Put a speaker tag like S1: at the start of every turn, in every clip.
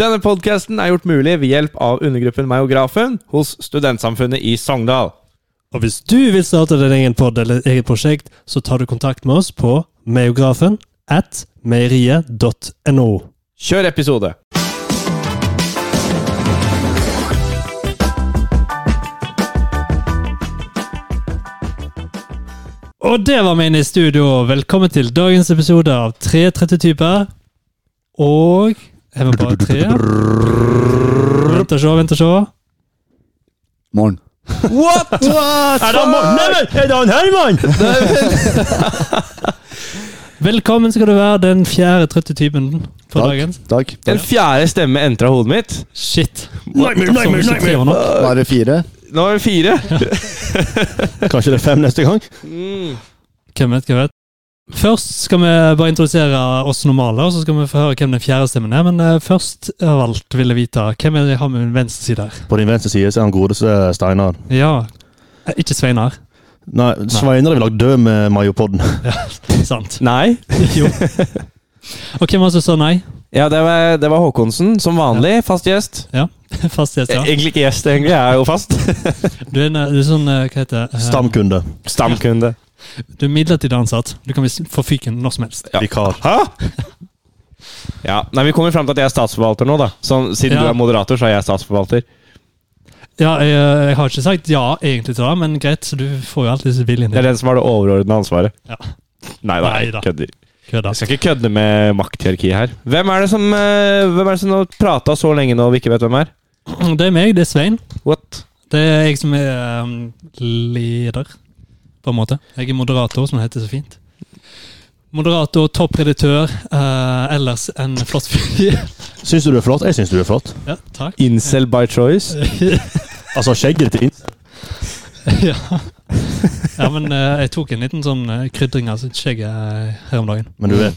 S1: Denne podkasten er gjort mulig ved hjelp av undergruppen Meiografen hos Studentsamfunnet i Sogndal.
S2: Og hvis du vil starte din egen pod eller eget prosjekt, så tar du kontakt med oss på meiografen at meieriet.no.
S1: Kjør episode!
S2: Og det var vi inne i studio. Velkommen til dagens episode av 330-typer. Og Er vi bare tre? Vent og se, vent og se.
S3: Morgen.
S1: What?!
S2: Er det Neimen, er det han Herman? Velkommen skal du være den fjerde 30-typen for dagen.
S3: Takk.
S1: En fjerde stemme entra hodet mitt.
S2: Shit.
S4: Nightmare, nightmare,
S2: Så tre
S4: nightmare.
S2: var nok.
S3: Var det fire?
S1: Nå er vi fire.
S4: Kanskje det er fem neste gang?
S1: Mm.
S2: Hvem vet, hvem vet. Først skal vi bare introdusere oss normale, og så skal vi få høre hvem den fjerde stemmen er. Men eh, først av alt vil jeg vite hvem er det jeg har med min venstre side her.
S4: På din venstre side så er han godeste Steinar.
S2: Ja, eh, ikke Sveinar.
S4: Nei, Sveinar er vel lagt død med Majopodden.
S2: Sant.
S1: Nei.
S2: Jo. Og hvem var det som sa nei?
S1: Ja, det var, det var Håkonsen, som vanlig. Fast gjest. E-,
S2: Fast gjest, ja.
S1: Egentlig ikke gjest, egentlig. Jeg er jo fast.
S2: Du er, en, eh, du er sånn, eh, hva heter det? Eh,
S4: Stamkunde.
S1: Stamkunde.
S2: Du er midlertidig ansatt. Du kan visst få fyken når som helst.
S1: Ja.
S4: Vikar.
S1: Hæ? Ja. Nei, vi kommer fram til at jeg er statsforvalter nå, da. Sånn, siden
S2: Ja.
S1: du er moderator, så er jeg statsforvalter.
S2: Ja, jeg, eh, jeg har ikke sagt ja egentlig til det, men greit, du får jo alltid viljen
S1: Det
S2: din.
S1: er den som har det overordnede ansvaret.
S2: Ja.
S1: Nei da,
S2: Neida.
S1: kødder.
S2: Kødda.
S1: Jeg skal ikke kødde med makthierarkiet her. Hvem er det som, eh, hvem er det som har prata så lenge nå vi ikke vet hvem er?
S2: Det er meg, det er Svein.
S1: What?
S2: Det er jeg som er um, leder, på en måte. Jeg er moderator, som det heter så fint. Moderator, toppreditør, eh, ellers en flott fyr.
S4: Syns du du er flott? Jeg syns du er flott.
S2: ja, takk.
S1: Incel by choice?
S4: Altså, skjegget ditt
S2: ja. ja, men eh, jeg tok en liten sånn eh, krydring av sitt skjegg eh, her om dagen.
S4: Men du vet,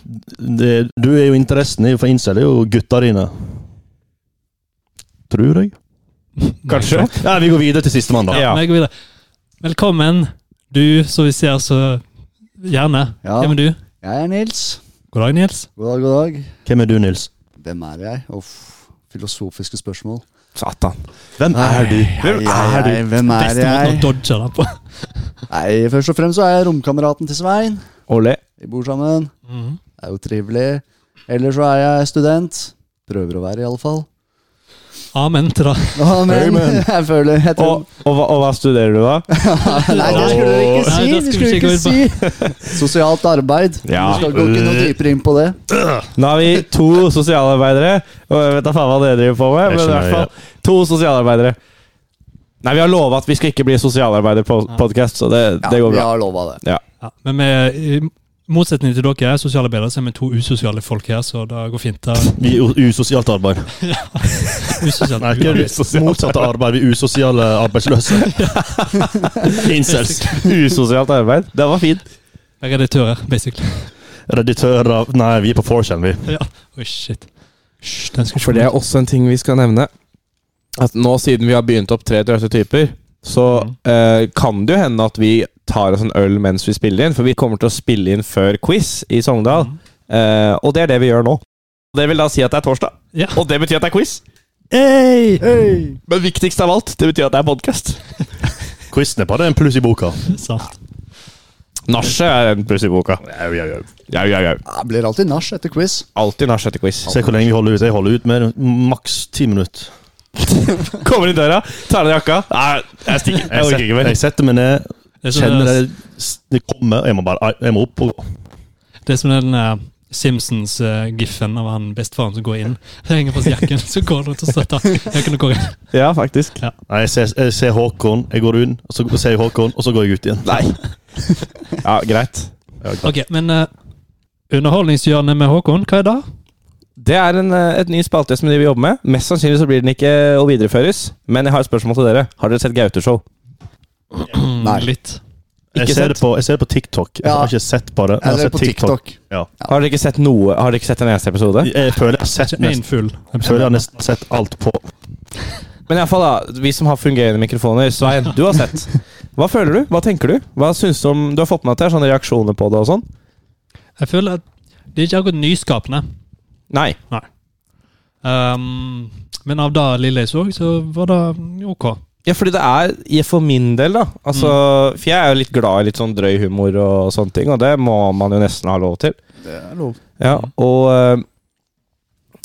S4: det, du er jo interessen er jo for incel, det er jo gutta dine. Tror jeg.
S1: Kanskje?
S4: Nei, vi går videre til sistemann, da.
S2: Ja,
S1: Ja.
S2: men jeg går videre. Velkommen, du som vi ser så gjerne.
S3: Ja.
S2: Hvem er du?
S3: Jeg er Nils.
S2: God dag, Nils.
S3: God dag, god dag.
S4: Hvem er du, Nils?
S3: Hvem er jeg? Uff, filosofiske spørsmål.
S1: Satan.
S4: Hvem er du?
S3: Hvem er du? Hvem er
S2: Beste måten å
S3: jeg?
S2: dodge det på.
S3: Nei, Først og fremst så er jeg romkameraten til Svein.
S1: Ole.
S3: Vi bor sammen.
S2: Mhm.
S3: Det er jo trivelig. Ellers så er jeg student. Prøver å være, i alle fall.
S2: Amen til det.
S3: Amen.
S4: Amen.
S3: Jeg føler jeg tror-
S1: Og, og, hva- og hva studerer du, da?
S3: Nei, det skulle du ikke
S2: Nei,
S3: si!
S2: det
S3: Det
S2: skulle
S3: skulle
S2: vi
S3: du ikke si. Sosialt arbeid.
S1: Ja.
S3: Du skal gå ikke noe dypere inn på det.
S1: Nå har vi to sosialarbeidere. Og jeg vet da faen hva dere driver på med,
S4: Jeg
S1: men i
S4: skjønner,
S1: hvert fall to sosialarbeidere. Nei, vi har lova at vi skal ikke bli sosialarbeider på podcast, så det, det går
S3: Vi
S1: bra.
S3: har lova det.
S2: Ja, men vi, i motsetning til dere sosiale bedre, så er vi to usosiale folk her, så det går fint. Det er
S4: Vi er u- usosialt arbeid.
S2: usosialt.
S4: Nei, ikke
S1: Usosialt.
S4: motsatt av arbeid. Vi er usosiale arbeidsløse. Incels.
S1: Usosialt arbeid. Det var fint.
S2: Vi er redaktører, basically.
S4: Redaktører Nei, vi er på 4chan, vi.
S2: Ja. Oi, shit. Hysj, den skal
S1: For det er også en ting vi skal nevne. At nå siden vi har begynt opp tre drøyte typer, så
S2: Mhm.
S1: eh, kan det jo hende at vi tar oss en øl mens vi spiller inn. For vi kommer til å spille inn før quiz i Sogndal. Eh, og det er det vi gjør nå. Det vil da si at det er torsdag,
S2: Ja.
S1: og det betyr at det er quiz.
S2: Hey!
S1: Men viktigst av alt, det betyr at det er podkast.
S4: Quizen er bare en pluss i boka.
S2: Sant.
S1: Nachet er en pluss i boka. Jau, jau, jau.
S3: Det blir alltid nach etter quiz.
S1: Alltid nach etter quiz.
S4: Se hvor lenge vi holder ut. Jeg holder ut med maks ti minutter.
S1: Kommer inn døra, tar av deg jakka. Nei, jeg stikker. Jeg orker ikke
S4: setter,
S1: mer. sånn
S4: jeg setter meg ned,
S2: Det er som,
S4: kjenner det,
S2: det,
S4: det kommer, og jeg må bare jeg må opp og gå.
S2: det er som den eh, Simpsons-giffen av han bestefaren som går inn. Det henger fast i jakken, så går han ut og støtter. Jeg kunne gå inn.
S1: Ja, faktisk.
S4: Nei, jeg ser, jeg ser Håkon, jeg går inn, og så ser jeg Håkon, og så går jeg ut igjen.
S1: Nei. Ja, greit.
S2: Ok, men eh, underholdningshjørnet med Håkon, hva er det?
S1: Det er en, eh, et ny spalte som vi jobber med. Mest sannsynlig så blir den ikke å videreføres. Men jeg har et spørsmål til dere. Har dere sett Gaute-show?
S3: Nei.
S2: Mm, Litt.
S4: Jeg
S1: Ikke
S4: ser,
S1: sant?
S4: det på, jeg ser det på TikTok. Jeg
S3: Ja.
S4: har ikke sett på det.
S3: Jeg
S4: men Jeg,
S1: Altså,
S3: ser
S4: har
S3: på
S4: sett TikTok.
S3: TikTok.
S1: Har dere ikke sett noe? Har dere ikke sett en eneste episode?
S4: Jeg føler jeg har sett
S2: Ikke en
S4: nesten,
S2: full.
S4: jeg føler jeg har nesten sett alt på.
S1: Men i alle fall da, vi som har fungerende mikrofoner, Svein, du har sett. Hhva føler du? Hva tenker du? Hva synes du om Du har fått med deg at det er sånne reaksjoner på det og sånn?
S2: Jeg føler at det er ikke akkurat nyskapende.
S1: Nei.
S2: Um, men av det lille jeg så, så var det ok.
S1: Ja, fordi det er i- for min del, da. Altså, For jeg er jo litt glad i litt sånn drøy humor og sånne ting, og det må man jo nesten ha lov til.
S3: Det er lov.
S1: Ja, og eh,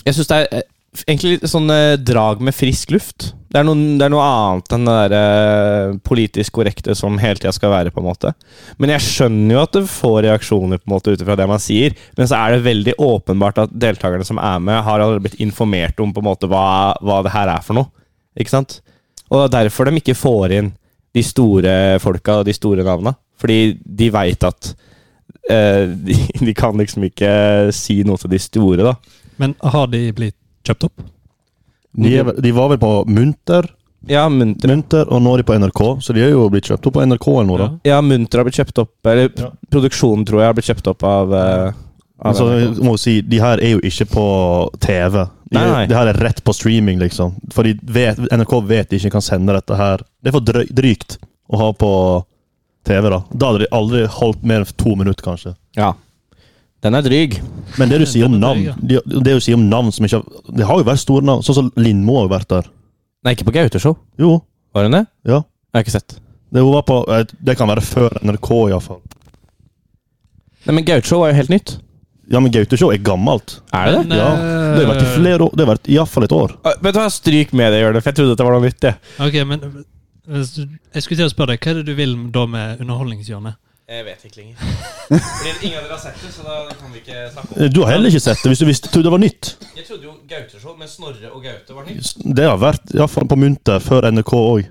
S1: jeg syns det er eh, egentlig litt sånn eh, drag med frisk luft. Det er, noen, det er noe annet enn det derre politisk korrekte som hele tida skal være, på en måte. Men jeg skjønner jo at det får reaksjoner på en måte ut ifra det man sier. Men så er det veldig åpenbart at deltakerne som er med, har allerede blitt informert om på en måte hva, hva det her er for noe. Ikke sant? Og det er derfor de ikke får inn de store folka og de store navna. Fordi de veit at eh, de, de kan liksom ikke si noe til de store, da.
S2: Men har de blitt kjøpt opp?
S4: De, er, vel- de var vel på Munter,
S1: Ja, Munter,
S4: Munter, og nå er de på NRK, så de er jo blitt kjøpt opp på NRK eller noe. da.
S1: ja, Munter har blitt kjøpt opp Eller
S4: Ja.
S1: produksjonen, tror jeg, har blitt kjøpt opp av, eh, av
S4: Altså,
S1: NRK.
S4: jeg må jo si, de her er jo ikke på TV. De,
S1: Nei, nei.
S4: de her er rett på streaming, liksom. For de vet, NRK vet de ikke kan sende dette her. Det er for drøy, drygt å ha på TV, da. Da hadde de aldri holdt mer enn to minutter, kanskje.
S1: Ja. Den er dryg.
S4: Men det du sier om
S2: Den er
S4: navn
S2: drøy, ja.
S4: de- Det du sier om navn som ikke har Det har jo vært store navn. Sånn som Lindmo har jo vært der.
S1: Nei, ikke på Gauteshow.
S4: Jo.
S1: Var den det?
S4: Ja.
S1: Jeg har ikke sett.
S4: Det, hun var på, eh, det kan være før NRK, iallfall.
S1: Nei, Men Gauteshow er jo helt nytt.
S4: Ja, men Gauteshow er gammelt.
S1: Er det det?
S2: Men,
S4: Ja,
S2: eh,
S4: Det har vært i flere år. Det har vært iallfall et år.
S1: Å, Eh, Vet du hva, Stryk med det, gjør det, for jeg trodde at det var noe nytt. Jeg.
S2: Ok, men eh, jeg skulle til å spørre deg, hva er det du vil da med underholdningshjørnet?
S1: jeg vet ikke lenger. Fordi Ingen av dere har sett det, så da kan vi ikke snakke
S4: Eh, Du har heller ikke sett det, hvis du visste, trodde det var nytt.
S1: Jeg trodde jo Gauteshow med Snorre og Gaute var
S4: Det har vært iallfall på Munter før NRK òg.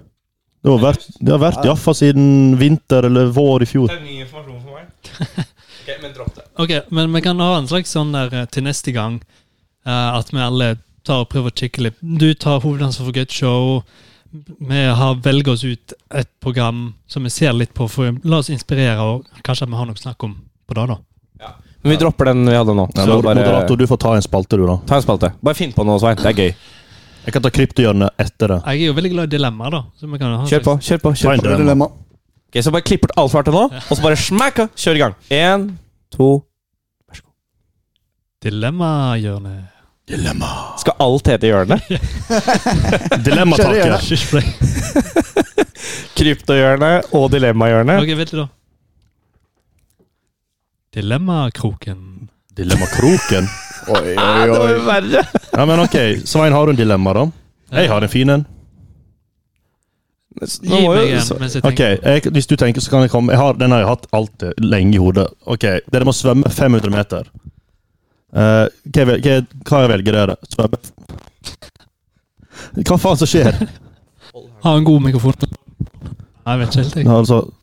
S4: Det har vært, det har vært iallfall siden vinter eller vår i fjor.
S1: er ny informasjon for meg. Ok, men dropp det.
S2: Ok, men vi kan ha en slags sånn der eh, til neste gang, eh, at vi alle tar og prøver å kikke litt. Du tar hovedansvar for Good Show, vi har velger oss ut et program som vi ser litt på, for la oss inspirere, og kanskje vi har noe snakk om på det da.
S1: Men vi dropper den vi hadde nå.
S4: Ja,
S1: så
S4: moder-
S1: bare-
S4: Moderator, du får ta en spalte, du, da.
S1: Ta en spalte. Bare finn på noe, Svein. Det er gøy.
S4: Jeg kan ta kryptohjørnet etter det.
S2: Jeg er jo veldig glad i dilemmaer da, så vi kan ha en
S1: Kjør
S2: slags-
S1: på. kjør på,
S4: Ta
S1: kjør
S4: en
S1: på.
S4: dilemma.
S3: Dilemma.
S1: Ok, Så bare klipp bort alt svarte nå, og så bare smækka! Kjør i gang. Én, to
S2: Dilemma-hjørnet.
S4: Dilemma.
S1: Skal alt hete hjørnet?
S3: Kjør
S4: Dilemmataket.
S3: gjerne.
S2: Kjør på.
S1: Kryptohjørnet og dilemmahjørnet.
S2: Ok, vet du da. Dilemmakroken.
S4: Dilemmakroken.
S3: Oi, oi, oi.
S1: verre!
S4: Ja, men ok. Svein, har du en dilemma, da? Jeg har en fin en.
S1: Nå
S2: Gi
S1: må
S2: meg
S1: jo
S2: en mens jeg
S4: Ok,
S2: tenker.
S4: jeg, Hvis du tenker, så kan jeg komme. Jeg har, den har jeg hatt alltid lenge i hodet. Ok, Dere må svømme 500 meter. Eh, hva, jeg vel- hva, jeg- hva jeg velger dere? Svømme Hva faen som skjer?
S2: Ha en god mikrofon. Nei, Jeg vet ikke helt, jeg.
S4: Ja, altså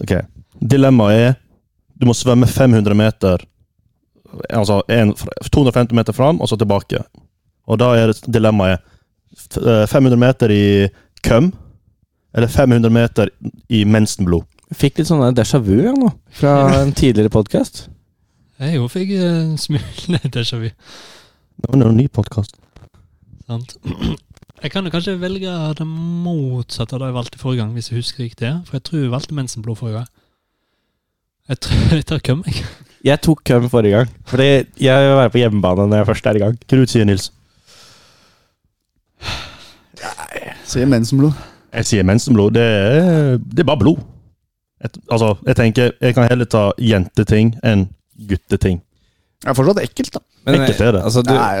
S4: Ok. Dilemmaet er du må svømme 500 meter Altså en, fra- 250 meter fram, og så tilbake. Og da er det- dilemmaet f- eh, 500 meter i køm, eller 500 meter i mensenblod.
S1: Fikk litt sånn déjà vu ja, nå, fra en tidligere podkast.
S2: Jeg jo fikk eh, en smule déjà vu.
S4: Det var en ny podkast.
S2: Sant? Jeg kan jo kanskje velge det motsatte av det jeg valgte forrige gang, hvis jeg husker riktig. For jeg tror jeg valgte mensenblod forrige gang. Jeg tror jeg tar køm, jeg.
S1: Jeg tok køm forrige gang, fordi jeg vil være på hjemmebane når jeg først er i gang.
S4: Hva du sier Nils?
S3: Sier mensenblod.
S4: Jeg sier mensenblod. Det er, det er bare blod. Et, altså, jeg tenker jeg kan heller ta jenteting enn gutteting.
S3: Det er fortsatt ekkelt, da.
S1: Men
S4: Ekkelt er det.
S1: altså, du,
S3: Nei,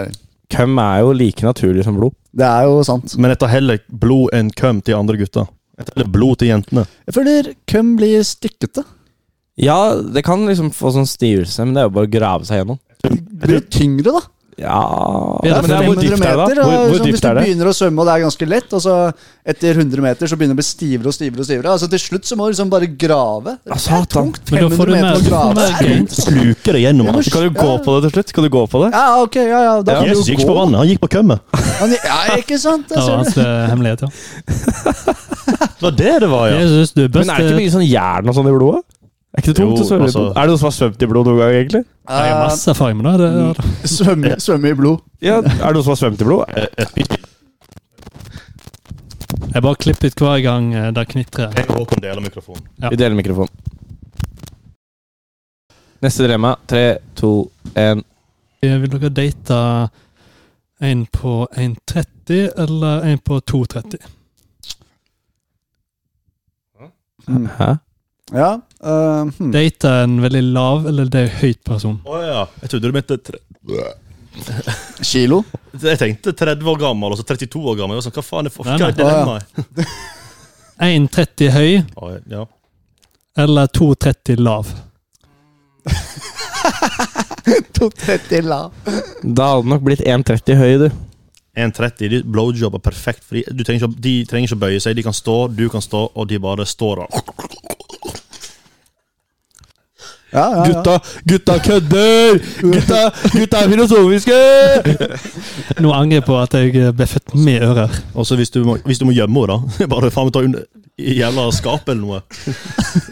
S1: køm er jo like naturlig som blod.
S3: det er jo sant.
S4: Men jeg tar heller blod enn køm til andre gutter. Jeg tar heller blod til jentene.
S3: Jeg føler køm blir stikkete.
S1: Ja, det kan liksom få sånn stivelse, men det er jo bare å grave seg gjennom.
S3: Blir tyngre, da.
S1: Ja
S2: Ja,
S1: men det er Hvor
S3: 500
S1: dypt er det,
S3: meter,
S1: da? Hvor,
S3: og
S1: hvor
S3: sånn,
S1: dypt er det?
S3: Hvis du begynner å svømme, og det er ganske lett, og så etter 100 meter så begynner det å bli stivere og stivere og stivere. Altså Til slutt så må du liksom bare grave.
S1: Ah, satan.
S2: Men da får du
S3: 500 meter å
S2: mer,
S3: grave.
S2: mer gain.
S4: Sluker det gjennom han.
S1: Kan du gå på det til slutt? Kan du gå på det?
S3: Ja, ok, ja, ja. Da kan
S4: Jesus
S3: du
S4: gikk
S3: jo
S4: ikke på
S3: gå.
S4: vannet, han gikk på kømmet.
S3: Han- Ja, ikke sant?
S2: Det
S3: Jeg
S2: var hans
S3: ser det.
S2: eh, hemmelighet, ja.
S4: Det var det det var, ja.
S2: Jesus, du er best. eh,
S1: Men er det ikke mye sånn jern og sånn i blodet? Er ikke det tungt
S4: Jo,
S1: å svømme i
S4: altså-
S1: blod? Er det noen som har svømt i blod noen gang, egentlig?
S2: Jeg har masse erfaring med det.
S1: Mm.
S2: det, det.
S3: Eh, Svømme, svømme i blod.
S1: Ja, Er det noen som har svømt i blod?
S2: Jeg bare klipper ut hver gang eh, det knitrer.
S4: Jeg og Håkon deler mikrofonen.
S2: Ja.
S1: Vi deler mikrofon. Neste dilemma. Tre, to, én.
S2: Eh, Vil dere date En på 1,30 eller en på 2,30?
S3: Mm.
S1: Hæ?
S3: Ja. eh, hmm.
S2: Date er en veldig lav eller det er høyt person.
S4: Å ja. Jeg trodde du mente tre...
S3: Kilo?
S4: Jeg tenkte 30 år gammel, og så 32 år gammel. Jeg var sånn, Hva faen er for...
S2: Nei,
S4: Hva
S2: nei.
S4: er dilemmaet?
S2: 1,30 høy
S4: Å, Ja.
S2: eller 2,30 lav?
S3: 230 lav.
S1: Da hadde det nok blitt 1,30 høy, du.
S4: 1,30. de- Blowjob er perfekt. Fordi du trenger ikke, å- de trenger ikke å bøye seg. De kan stå, du kan stå, og de bare står der.
S3: Ja, ja, ja.
S1: Gutta, gutta kødder! Gutta, gutta er filosofiske!
S2: Nå angrer jeg på at jeg eh, ble født med ører.
S4: Og så hvis du må, hvis du må gjemme henne, da Bare faen meg ta under i jævla skapet eller noe.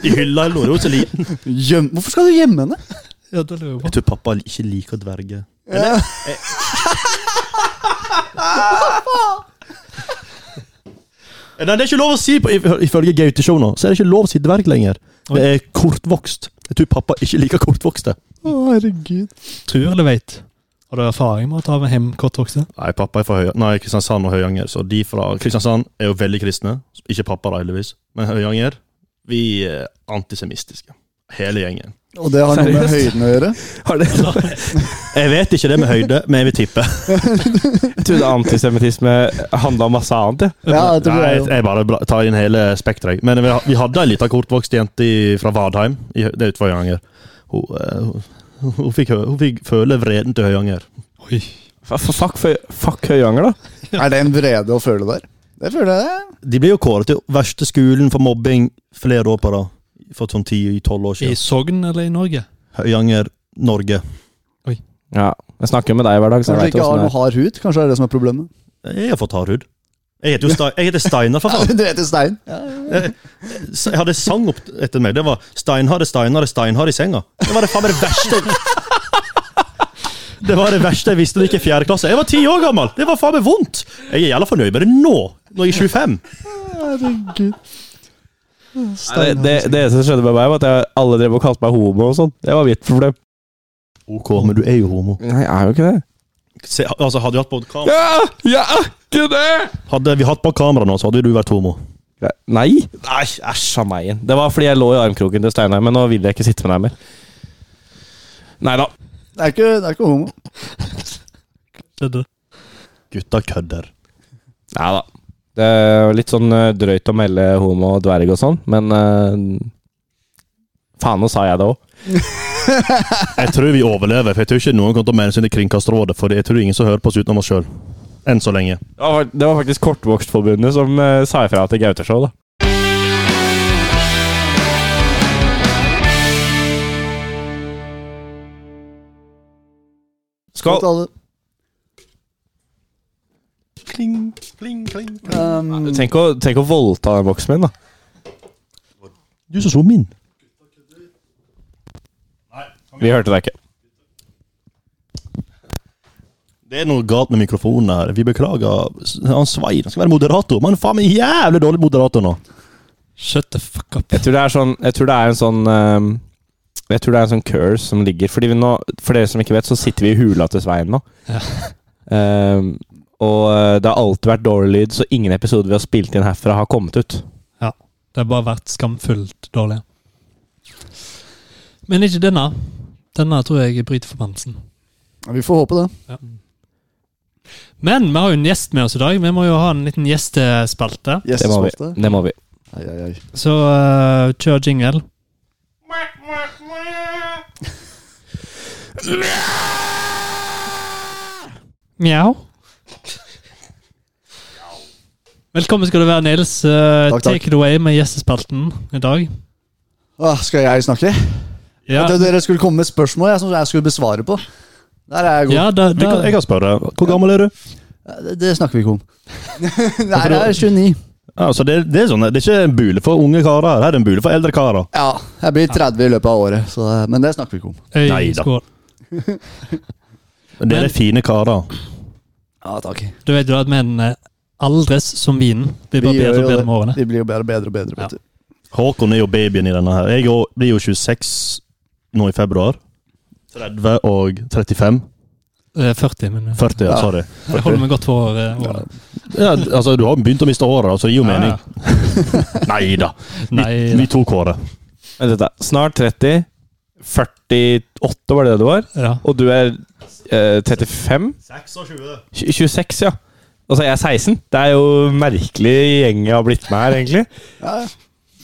S4: I hylla eller noe. Hun er jo så liten.
S3: Gjem, hvorfor skal du gjemme henne?
S2: Ja, det lurer jeg på.
S4: Jeg tror pappa ikke liker dverger. Eh, Nei, det er ikke lov å si på, if- Ifølge Gauteshow nå, så er det ikke lov å si dverg lenger. Det er kortvokst. Jeg tror pappa ikke liker kortvokste.
S3: Å, herregud.
S2: Tror eller veit? Har du erfaring med å ta med hjem kortvokste?
S4: Nei, pappa er fra Høy Nei, Kristiansand og Høyanger. Så de fra Kristiansand er jo veldig kristne. Ikke pappa, da, heldigvis. Men Høyanger Vi er antisemittiske. Hele gjengen.
S3: Og det har noe med
S1: Seriøst?
S3: høyden å gjøre?
S1: Har det
S4: Jeg vet ikke det med høyde, men jeg vil tippe.
S1: Jeg trodde antisemittisme handla om masse annet, jeg.
S3: Ja, det tror
S4: Nei,
S3: jeg
S4: jeg,
S3: jo.
S4: jeg bare bla- tar inn hele spekteret. Men vi, ha- vi hadde ei lita kortvokst jente i, fra Vadheim. I, Hø- det er utenfor Høyanger. Hun, eh, hun, hun, fikk, hø- hun fikk føle vreden til Høyanger.
S2: Oi.
S1: Fa- fa- Fuck, Høy- fuck Høyanger, da.
S3: Er det en vrede å føle der? Det føler jeg.
S4: De ble jo kåret til verste skolen for mobbing flere år på rad. For sånn 10-12 år
S2: I
S4: siden.
S2: Sogn eller i Norge?
S4: Høyanger, Norge.
S1: Ja, Jeg snakker jo med deg hver dag, så
S3: Kanskje
S1: jeg vet
S3: ikke
S1: åssen
S3: har
S1: det
S3: noe
S1: er.
S3: hard hud? Kanskje det er det som er problemet?
S4: Jeg har fått hard hud. Jeg heter jo Stein, jeg heter Steinar, for
S3: Ja,
S4: faen.
S3: du heter Stein. Ja.
S4: S- Jeg hadde sang opp etter meg. Det var 'Steinharde, Steinharde, Steinharde i senga'. Det var det faen meg det verste Det var det verste jeg visste det gikk i fjerde klasse. Jeg var ti år gammel! Det var faen meg vondt! Jeg er jævla fornøyd med det nå, når jeg er 25.
S3: Herregud.
S1: Nei, Det, det, det eneste som skjedde med meg, var at jeg, alle drev og kalte meg homo og sånn. Det var mitt problem.
S4: Ok, men du er jo homo.
S1: Nei, jeg er jo ikke det.
S4: Se, altså, hadde vi hatt på kamera,
S1: Ja, jeg er ikke det!
S4: hadde vi hatt på kamera nå, så hadde du vært homo.
S1: Nei. Nei, Æsj av meg igjen. Det var fordi jeg lå i armkroken til Steinar, men nå vil jeg ikke sitte med deg mer. Nei da.
S3: Det er ikke, det er ikke homo.
S2: Det er det.
S4: Gutta kødder.
S1: Nei da. Det er jo litt sånn eh, drøyt å melde homo og dverg og sånn, men eh, Faen, nå sa jeg det òg.
S4: Jeg tror vi overlever, for jeg tror ikke noen kommer til å melde seg inn i Kringkasterrådet, for jeg tror ingen som hører på oss utenom oss sjøl. Enn så lenge.
S1: Det var- det var faktisk Kortvokstforbundet som eh, sa ifra til Gauteshow, da. Skål!
S3: Skål til alle.
S4: Kling, kling, kling.
S3: Um,
S1: Tenk å, tenk å voldta den boksen min, da.
S4: Du som slo min.
S1: Vi hørte deg ikke.
S4: Det er noe galt med mikrofonen her. Vi beklager. S- Han Svein han skal være moderator. Men faen meg jævlig dårlig moderator nå.
S2: Shut the fuck up.
S1: Jeg tror det er, sånn, jeg tror det er en sånn ehm, Jeg tror det er en sånn curse som ligger Fordi vi nå, For dere som ikke vet, så sitter vi i hula til Svein nå.
S2: Ja.
S1: Ehm, og eh, det har alltid vært dårlig lyd, så ingen episoder vi har spilt inn herfra, har kommet ut.
S2: Det har bare vært skamfullt dårlig. Men ikke denne. Denne tror jeg bryter forbannelsen.
S3: vi får håpe det.
S2: Men vi har jo en gjest med oss i dag. Vi må jo ha en liten gjestespalte.
S1: Det må vi.
S3: Gjestespalte.
S1: Det må vi.
S3: Ai, ai, ai.
S2: Så eh, kjør jingle. Mjau. Velkommen skal du være, Nils. Eh,
S3: Takk, takk.
S2: Take it away med gjestespalten i dag.
S3: Åh, skal jeg snakke?
S2: Ja,
S3: Det, dere skulle komme med spørsmål jeg, som jeg skulle besvare på. Der er jeg god.
S2: ja da,
S4: Vi kan,
S2: da,
S4: jeg kan spørre. Hvor gammel er du?
S3: Det, det snakker vi ikke om. Nei, jeg er 29.
S4: Altså, det, det, er sånn, det er ikke en bule for unge karer. her. Her er en bule for eldre karer.
S3: Ja, jeg blir 30 i løpet av året, så, men det snakker vi ikke om.
S2: Øy,
S4: Nei da.
S2: skål.
S4: Men Dere er fine karer.
S3: Ja, takk.
S2: Du vet jo at menn eh, aldres som vinen. Blir bare bedre og bedre med årene.
S3: Vi blir jo bedre og bedre og bedre.
S2: Ja.
S3: vet du.
S4: Håkon er jo babyen i denne her. Jeg er jo- blir jo 26 nå i februar. 30 og 35.
S2: Eh, 40, men eh,
S4: 40, ja,
S3: Ja.
S4: sorry.
S2: jeg holder meg godt for eh, årene.
S4: Ja, altså, du har begynt å miste håret, altså. Det gir jo
S2: Ja,
S4: mening.
S2: ja.
S4: Nei da. Vi,
S2: Nei,
S4: vi tok håret.
S1: Vent litt, da. Snart 30. 48 var det det du var?
S2: ja.
S1: Og du er eh, 35?
S4: 26.
S1: Tj- 26, ja. Altså, jeg er 16. Det er jo merkelig gjeng jeg har blitt med her, egentlig.
S3: Ja, ja,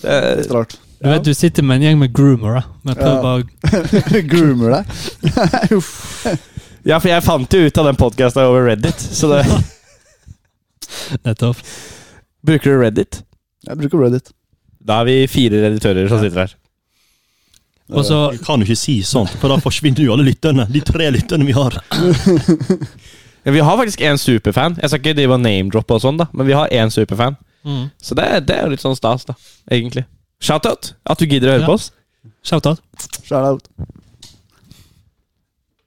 S1: Det er,
S3: litt rart.
S2: Du vet, du sitter med en gjeng med groomere. Vi prøver
S3: Ja.
S2: bare
S3: Groomer deg. Uff.
S1: ja, for jeg fant jo ut av den podkasten over Reddit. Så det,
S2: nettopp.
S1: bruker du Reddit?
S3: Jeg bruker Reddit.
S1: Da er vi fire redaktører som sitter her.
S2: Og så
S4: Du kan jo ikke si sånt, for da forsvinner jo alle lytterne. De tre lytterne vi har.
S1: Ja, vi har faktisk én superfan. Jeg skal ikke drive og name-droppe og sånn, da, men vi har én superfan.
S2: mm,
S1: Så det, er- det er jo litt sånn stas, da, egentlig. Shout-out at du gidder å høre
S2: Ja.
S1: på oss.
S2: Shout-out.
S3: Shout out.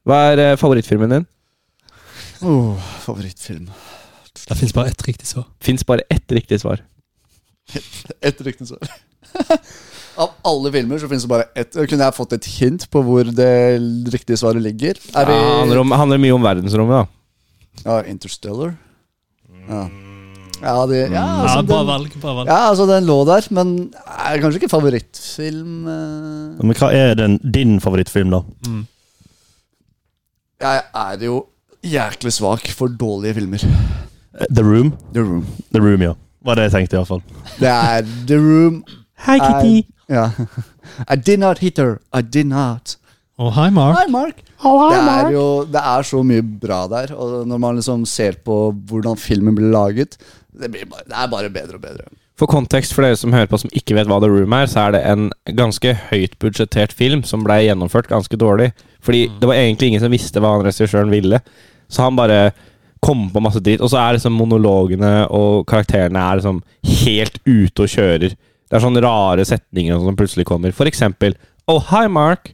S1: Hva er eh, favorittfilmen din?
S3: Oh, favorittfilm.
S2: Det fins bare ett riktig svar.
S1: Fins bare ett riktig svar.
S3: Ett riktig svar. Av alle filmer så finnes det bare ett. Kunne jeg fått et hint på hvor det riktige svaret ligger?
S1: Ja,
S3: Er vi
S1: handler, om, handler mye om verdensrommet, da.
S3: ja, Interstellar? Ja. Ja, det, ja,
S2: Mm. Ja,
S3: altså,
S2: bra
S3: den,
S2: valg. bra valg.
S3: ja, altså, den lå der, men er kanskje ikke favorittfilm eh.
S4: Men hva er den, din favorittfilm, da?
S2: Mm.
S3: Jeg er jo jæklig svak for dårlige filmer.
S4: The Room?
S3: The Room.
S4: The Room, ja. Var det jeg tenkte, iallfall.
S3: Det er The Room.
S1: Hei,
S3: Kitty. Ja. I did not hit her. I did not.
S2: Og hi, Mark.
S3: Hi, Mark. det er jo det er så mye bra der. Og når man liksom ser på hvordan filmen blir laget, det, blir bare, det er bare bedre og bedre.
S1: For kontekst for dere som hører på som ikke vet hva The Room er, så er det en ganske høyt budsjettert film som ble gjennomført ganske dårlig. Fordi det var egentlig ingen som visste hva han regissøren ville. Så han bare kom på masse dritt. Og så er liksom monologene og karakterene er liksom helt ute og kjører. Det er sånne rare setninger og sånn som plutselig kommer. For eksempel Oh, hi, Mark!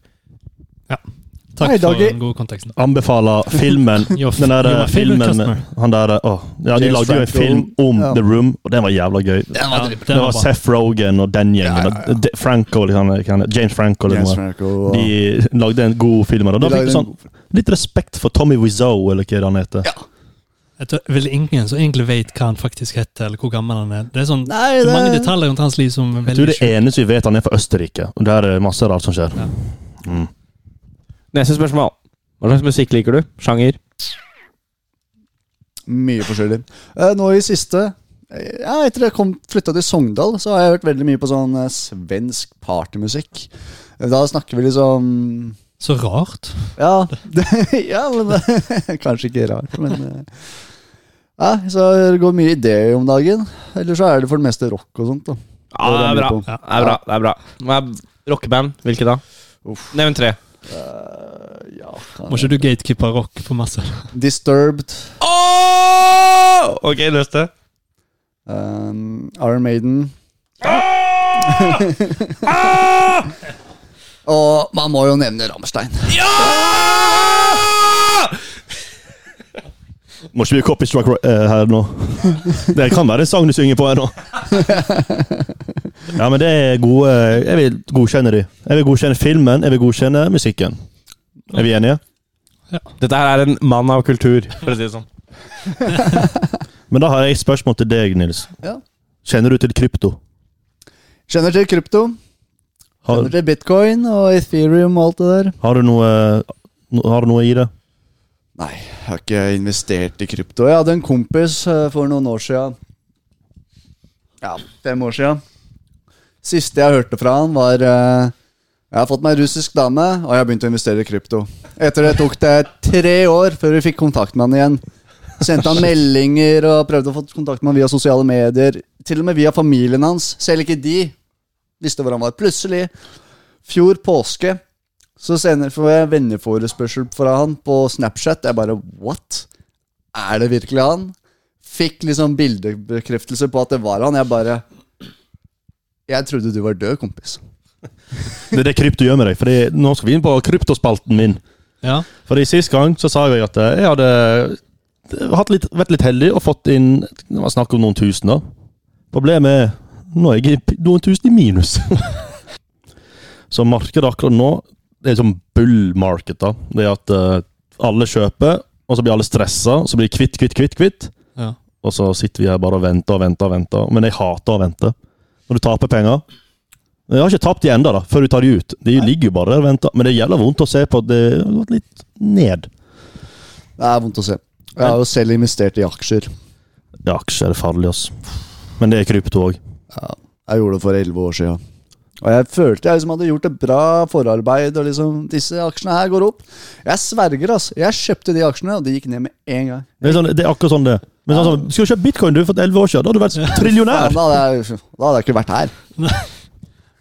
S2: Takk
S3: Hei,
S2: for
S3: Doggy.
S2: den gode konteksten.
S4: Anbefaler filmen.
S2: Your f-
S4: Den der
S2: your favorite
S4: eh, filmen
S2: customer.
S4: med han der, eh, åh, Ja, de
S3: James
S4: lagde jo en
S3: Franco.
S4: film om
S3: Ja.
S4: The Room, og den var jævla gøy.
S3: Den
S2: Ja,
S3: var
S2: den
S3: dritbra.
S4: Det
S2: var
S4: var
S2: bra.
S4: Seth Rogan og den
S3: Ja,
S4: gjengen.
S3: ja, ja.
S4: og De- Franco, eller han- hva han er, James Franco. Eller
S3: James
S4: noe.
S3: Franco og-
S4: De lagde en god film. Og da
S3: De lagde
S4: fikk du
S3: en
S4: sånn
S3: god film.
S4: litt respekt for Tommy Wiseau, eller hva han heter.
S3: Ja.
S2: Jeg tror vel ingen som egentlig vet hva han faktisk heter, eller hvor gammel han er. Det er sånn
S3: Nei,
S2: det...
S3: det,
S2: er mange detaljer rundt hans liv som er
S4: Jeg tror
S2: veldig
S4: det eneste vi vet, han er fra Østerrike. Og der er det masse rart som skjer.
S2: Ja.
S4: Mm.
S1: Neste spørsmål. Hva slags musikk liker du? Sjanger?
S3: Mye forskjellig. Eh, nå i siste ja, Etter jeg kom, flytta til Sogndal, så har jeg hørt veldig mye på sånn eh, svensk partymusikk. Da snakker vi liksom
S2: Så rart.
S3: Ja, det, ja men Kanskje ikke rart, men eh, ja, Så det går mye i det om dagen. Eller så er det for det meste rock og sånt. da
S1: Ja, det er bra. Det er bra. det er bra. Hva er Rockeband? Hvilke da?
S3: Uff.
S1: Nevn tre.
S3: Eh, ja, kan-
S2: Må ikke du gatekeeper rock for masse?
S3: Disturbed.
S1: Åh! Ok, neste.
S3: Um, Iron Maiden. Og man må jo nevne Rammstein.
S4: Må ikke vi copy strike eh, her nå? Det kan være en sang du synger på her nå. Ja, men det er gode Jeg vil godkjenne de. Jeg vil godkjenne filmen, jeg vil godkjenne musikken. Er vi enige?
S1: Dette her er en mann av kultur, for å si det sånn.
S4: Men da har jeg et spørsmål til deg, Nils.
S3: Ja.
S4: Kjenner du til krypto?
S3: Kjenner til krypto,
S4: Har,
S3: kjenner til bitcoin og Ethereum og alt det der.
S4: har, du noe, no- har du noe i det?
S3: Nei, jeg har ikke investert i krypto. Jeg hadde en kompis eh, for noen år siden Ja, fem år siden Siste jeg hørte fra han, var eh, Jeg har fått meg en russisk dame, og jeg har begynt å investere i krypto. Etter det tok det tre år før vi fikk kontakt med han igjen. Sendte han meldinger og prøvde å få kontakt med han via sosiale medier. Til og med via familien hans. Selv ikke de visste hvor han var. Plutselig, fjor påske, så senere får jeg venneforespørsel fra han på Snapchat. Jeg bare What? Er det virkelig han? Fikk liksom bildebekreftelse på at det var han. Jeg bare Jeg trodde du var død, kompis.
S4: Det er det krypto gjør med deg. Fordi nå skal vi inn på kryptospalten min.
S2: Ja.
S4: Fordi sist gang så sa jeg at eh, jeg hadde eh, hatt litt, vært litt heldig og fått inn Det var snakk om noen tusen, da. Problemet er nå er jeg i p- noen tusen i minus. så markedet akkurat nå det er sånn bull market. da. Det er at eh, alle kjøper, Og så blir alle stressa, så blir det kvitt, kvitt, kvitt, kvitt.
S2: Ja.
S4: Og så sitter vi her bare og venter og venter og venter. Men jeg hater å vente. Når du taper penger Jeg har ikke tapt de ennå, da, før du tar de ut. De ligger jo bare der og venter. Men det er jævla vondt å se på. at Det har gått litt ned.
S3: Det er vondt å se. Jeg har jo selv investert i aksjer.
S4: Ja, aksjer er farlig, ass. Men det er krypto òg.
S3: Ja, jeg gjorde det for elleve år siden. Og jeg følte jeg liksom hadde gjort et bra forarbeid, og liksom disse aksjene her går opp. Jeg sverger, altså. Jeg kjøpte de aksjene, og de gikk ned med en gang.
S4: Det, er sånn, det er akkurat sånn det er. Men sånn, sånn, Skulle du kjøpt bitcoin du for 11 år siden? Da hadde du vært
S3: Ja,
S4: trillionær!
S3: da, hadde jeg, da hadde jeg ikke vært her.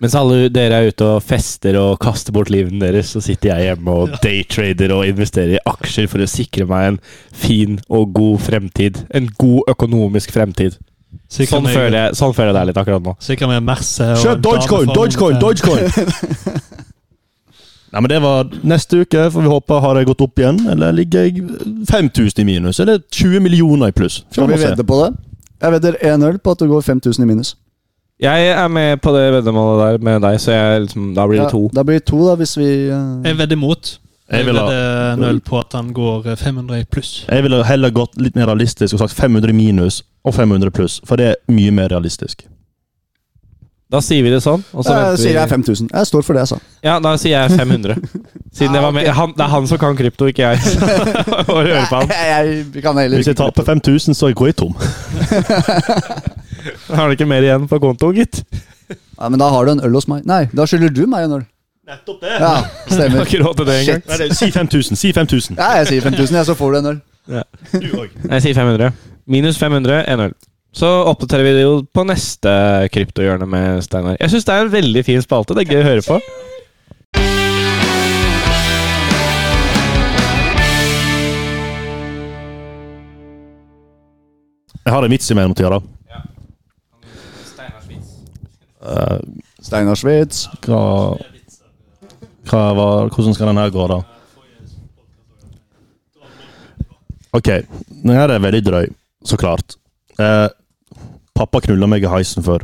S1: Mens alle dere er ute og fester og kaster bort livene deres, så sitter jeg hjemme og daytrader og investerer i aksjer for å sikre meg en fin og god fremtid. En god økonomisk fremtid.
S2: Sikkert
S1: Sånn
S2: med-
S1: føler jeg, sånn føler jeg det er litt akkurat nå.
S2: Sikkert med Merce og en
S4: Kjøp
S2: dame
S4: dogecoin!
S2: fra
S4: Dogecoin!
S2: Romania.
S4: Dogecoin! Nei, men det var neste uke, for vi håper har jeg gått opp igjen. Eller ligger jeg 5000 i minus? Eller 20 millioner i pluss?
S3: Skal vi vedde på det? Jeg vedder én øl på at det går 5000 i minus.
S1: Jeg er med på det veddemålet der med deg, så jeg, liksom, da blir det to.
S3: Ja, da blir det to, da, hvis vi eh,
S2: Jeg vedder mot.
S4: Jeg
S2: Jeg
S4: vil ha-
S2: vedder en øl på at han går eh, 500 i pluss.
S4: Jeg ville heller gått litt mer realistisk og sagt 500 minus og 500 pluss, for det er mye mer realistisk.
S1: Da sier vi det sånn. Og så
S3: Jeg
S1: venter
S3: Eh, sier jeg
S1: vi.
S3: 5000. Jeg står for det altså. jeg sa.
S1: Ja, da sier jeg 500. Siden det, var med. Han, det er han som kan krypto, ikke jeg. Så, og hører på han.
S3: Jeg, jeg kan heller
S4: Hvis jeg
S3: ikke-
S4: taper 5000, så går jeg tom.
S1: Har han ikke mer igjen på konto, gitt?
S3: Ja, men da har du en øl hos meg. Nei, da skylder du meg en øl.
S4: Nettopp det!
S3: Ja,
S1: Jeg har
S3: stemmer.
S1: ikke råd til det engang.
S3: Shit.
S4: si 5000, si 5000.
S3: Ja, jeg sier 5000, jeg, så får du en øl.
S4: Du òg.
S1: Jeg sier 500. Minus 500, 1-0. Så oppdaterer vi det jo på neste kryptohjørne med Steinar. Jeg syns det er en veldig fin spalte. Det er gøy å høre på.
S4: Jeg har en vits i meg om tida. da. Eh,
S3: Steinar Schwitz.
S4: Hva, hva var, Hvordan skal den her gå, da? Ok, den her er veldig drøy, så klart. Eh, pappa knulla meg i heisen før.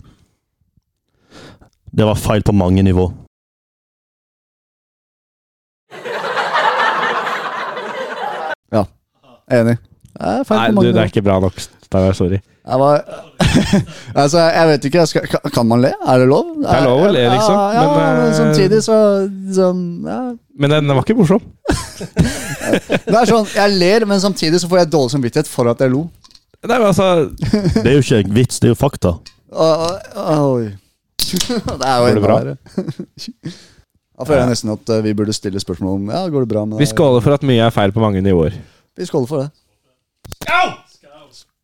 S4: Det var feil på mange nivå.
S3: Enig. Det er feil
S1: Nei,
S3: på
S1: du,
S3: mange
S1: det er
S3: måter.
S1: ikke bra nok. Steinar, sorry.
S3: Jeg var Altså, jeg vet ikke. jeg Skal, ka- kan man le? Er det lov?
S1: er lov å le, liksom,
S3: Ja, ja,
S1: men,
S3: men,
S1: eh,
S3: samtidig så sånn, ja.
S1: Men den, den var ikke morsom.
S3: Det er sånn, Jeg ler, men samtidig så får jeg dårlig samvittighet for at jeg lo.
S1: Nei, men altså
S4: Det er jo ikke en vits, det er jo fakta.
S3: Og, og, oi. Det er jo
S1: Går det
S3: enda
S1: bra?
S3: verre. Da føler jeg nesten at eh, vi burde stille spørsmål om Ja, går det bra med
S1: Vi
S3: deg?
S1: skåler for at mye er feil på mange nivåer.
S3: Vi skåler for det.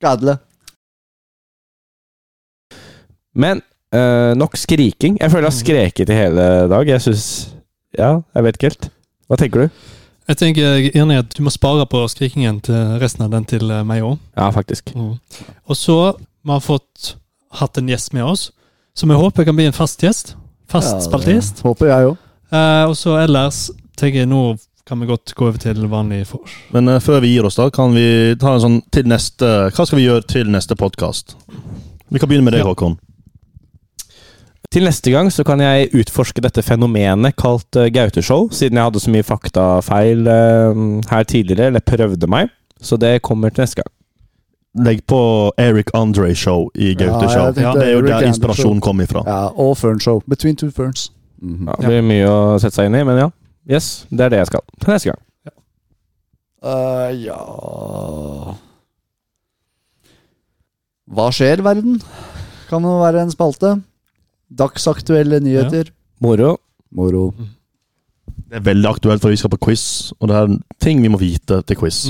S3: Gadle.
S1: Men eh, nok skriking. Jeg føler jeg har skreket i hele dag. Jeg syns Ja, jeg vet ikke helt. Hva tenker du?
S2: Jeg tenker jeg er enig i at du må spare på skrikingen til resten av den til eh, meg òg.
S1: Ja, faktisk.
S2: Mm. Og så vi har fått hatt en gjest med oss, som jeg håper kan bli en fast gjest. Fast
S3: Ja, det
S2: spaltist.
S3: Håper jeg òg.
S2: Eh, og så ellers tenker jeg nå kan vi godt gå over til vanlig vors.
S4: Men eh, før vi gir oss, da, kan vi ta en sånn til neste Hva skal vi gjøre til neste podkast? Vi kan begynne med deg,
S2: Ja.
S4: Håkon.
S1: Til neste gang så kan jeg utforske dette fenomenet kalt eh, Gauteshow, siden jeg hadde så mye faktafeil eh, her tidligere, eller prøvde meg. Så det kommer til neste gang.
S4: Legg på Eric Andre Show i Gaute
S3: Ja,
S4: Show.
S3: jeg tenkte
S4: Ja, det er jo
S3: Eric
S4: der
S3: Andre
S4: inspirasjonen kom ifra.
S3: Ja, og Fernshow. Between two ferns. Mhm.
S1: Ja, det blir mye å sette seg inn i, men ja. Yes, det er det jeg skal. Til neste gang.
S3: Eh, ja Hva skjer, verden? Kan jo være en spalte. Dagsaktuelle nyheter.
S1: Moro.
S3: Moro.
S4: Det er veldig aktuelt, for vi skal på quiz, og det er ting vi må vite til quiz.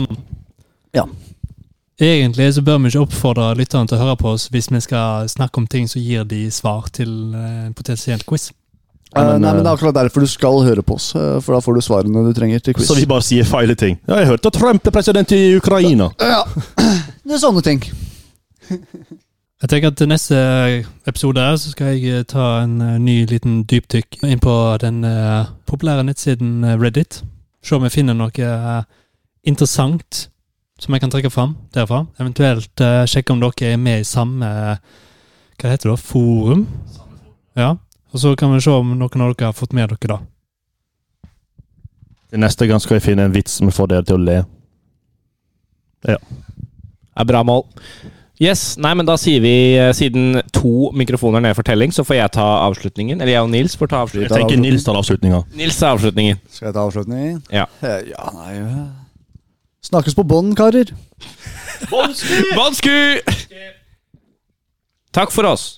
S2: Egentlig så bør vi ikke oppfordre lytterne til å høre på oss hvis vi skal snakke om ting som gir de svar til eh, en potensiell quiz.
S3: Eh,
S4: men,
S3: nei, men Det
S4: eh,
S3: er akkurat derfor du skal høre på oss, eh, for da får du svarene du trenger til quiz.
S4: Så vi bare sier feile ting. Ja, jeg hørte at Trump er president i Ukraina.
S3: Ja, det er sånne ting.
S2: Jeg tenker at til neste episode her så skal jeg eh, ta en eh, ny liten dypdykk inn på den eh, populære nettsiden eh, Reddit. Se om jeg finner noe eh, interessant som jeg kan trekke fram derfra. Eventuelt eh, sjekke om dere er med i samme eh, Hva heter det? da? Forum? Ja. Og så kan vi se om noen av dere har fått med dere, da.
S4: Til neste gang skal jeg finne en vits som får dere til å le.
S1: er bra mål. Yes, nei, men Da sier vi, eh, siden to mikrofoner ned for telling, så får jeg ta avslutningen. Eller jeg og Nils får ta
S4: Jeg
S1: avslutningen.
S4: tenker Nils tar avslutninga.
S1: Nils tar avslutningen.
S3: Skal jeg ta avslutning?
S1: Ja.
S3: Eh, Ja, nei eh. Snakkes på bånn, karer.
S1: Bansku! Takk for oss.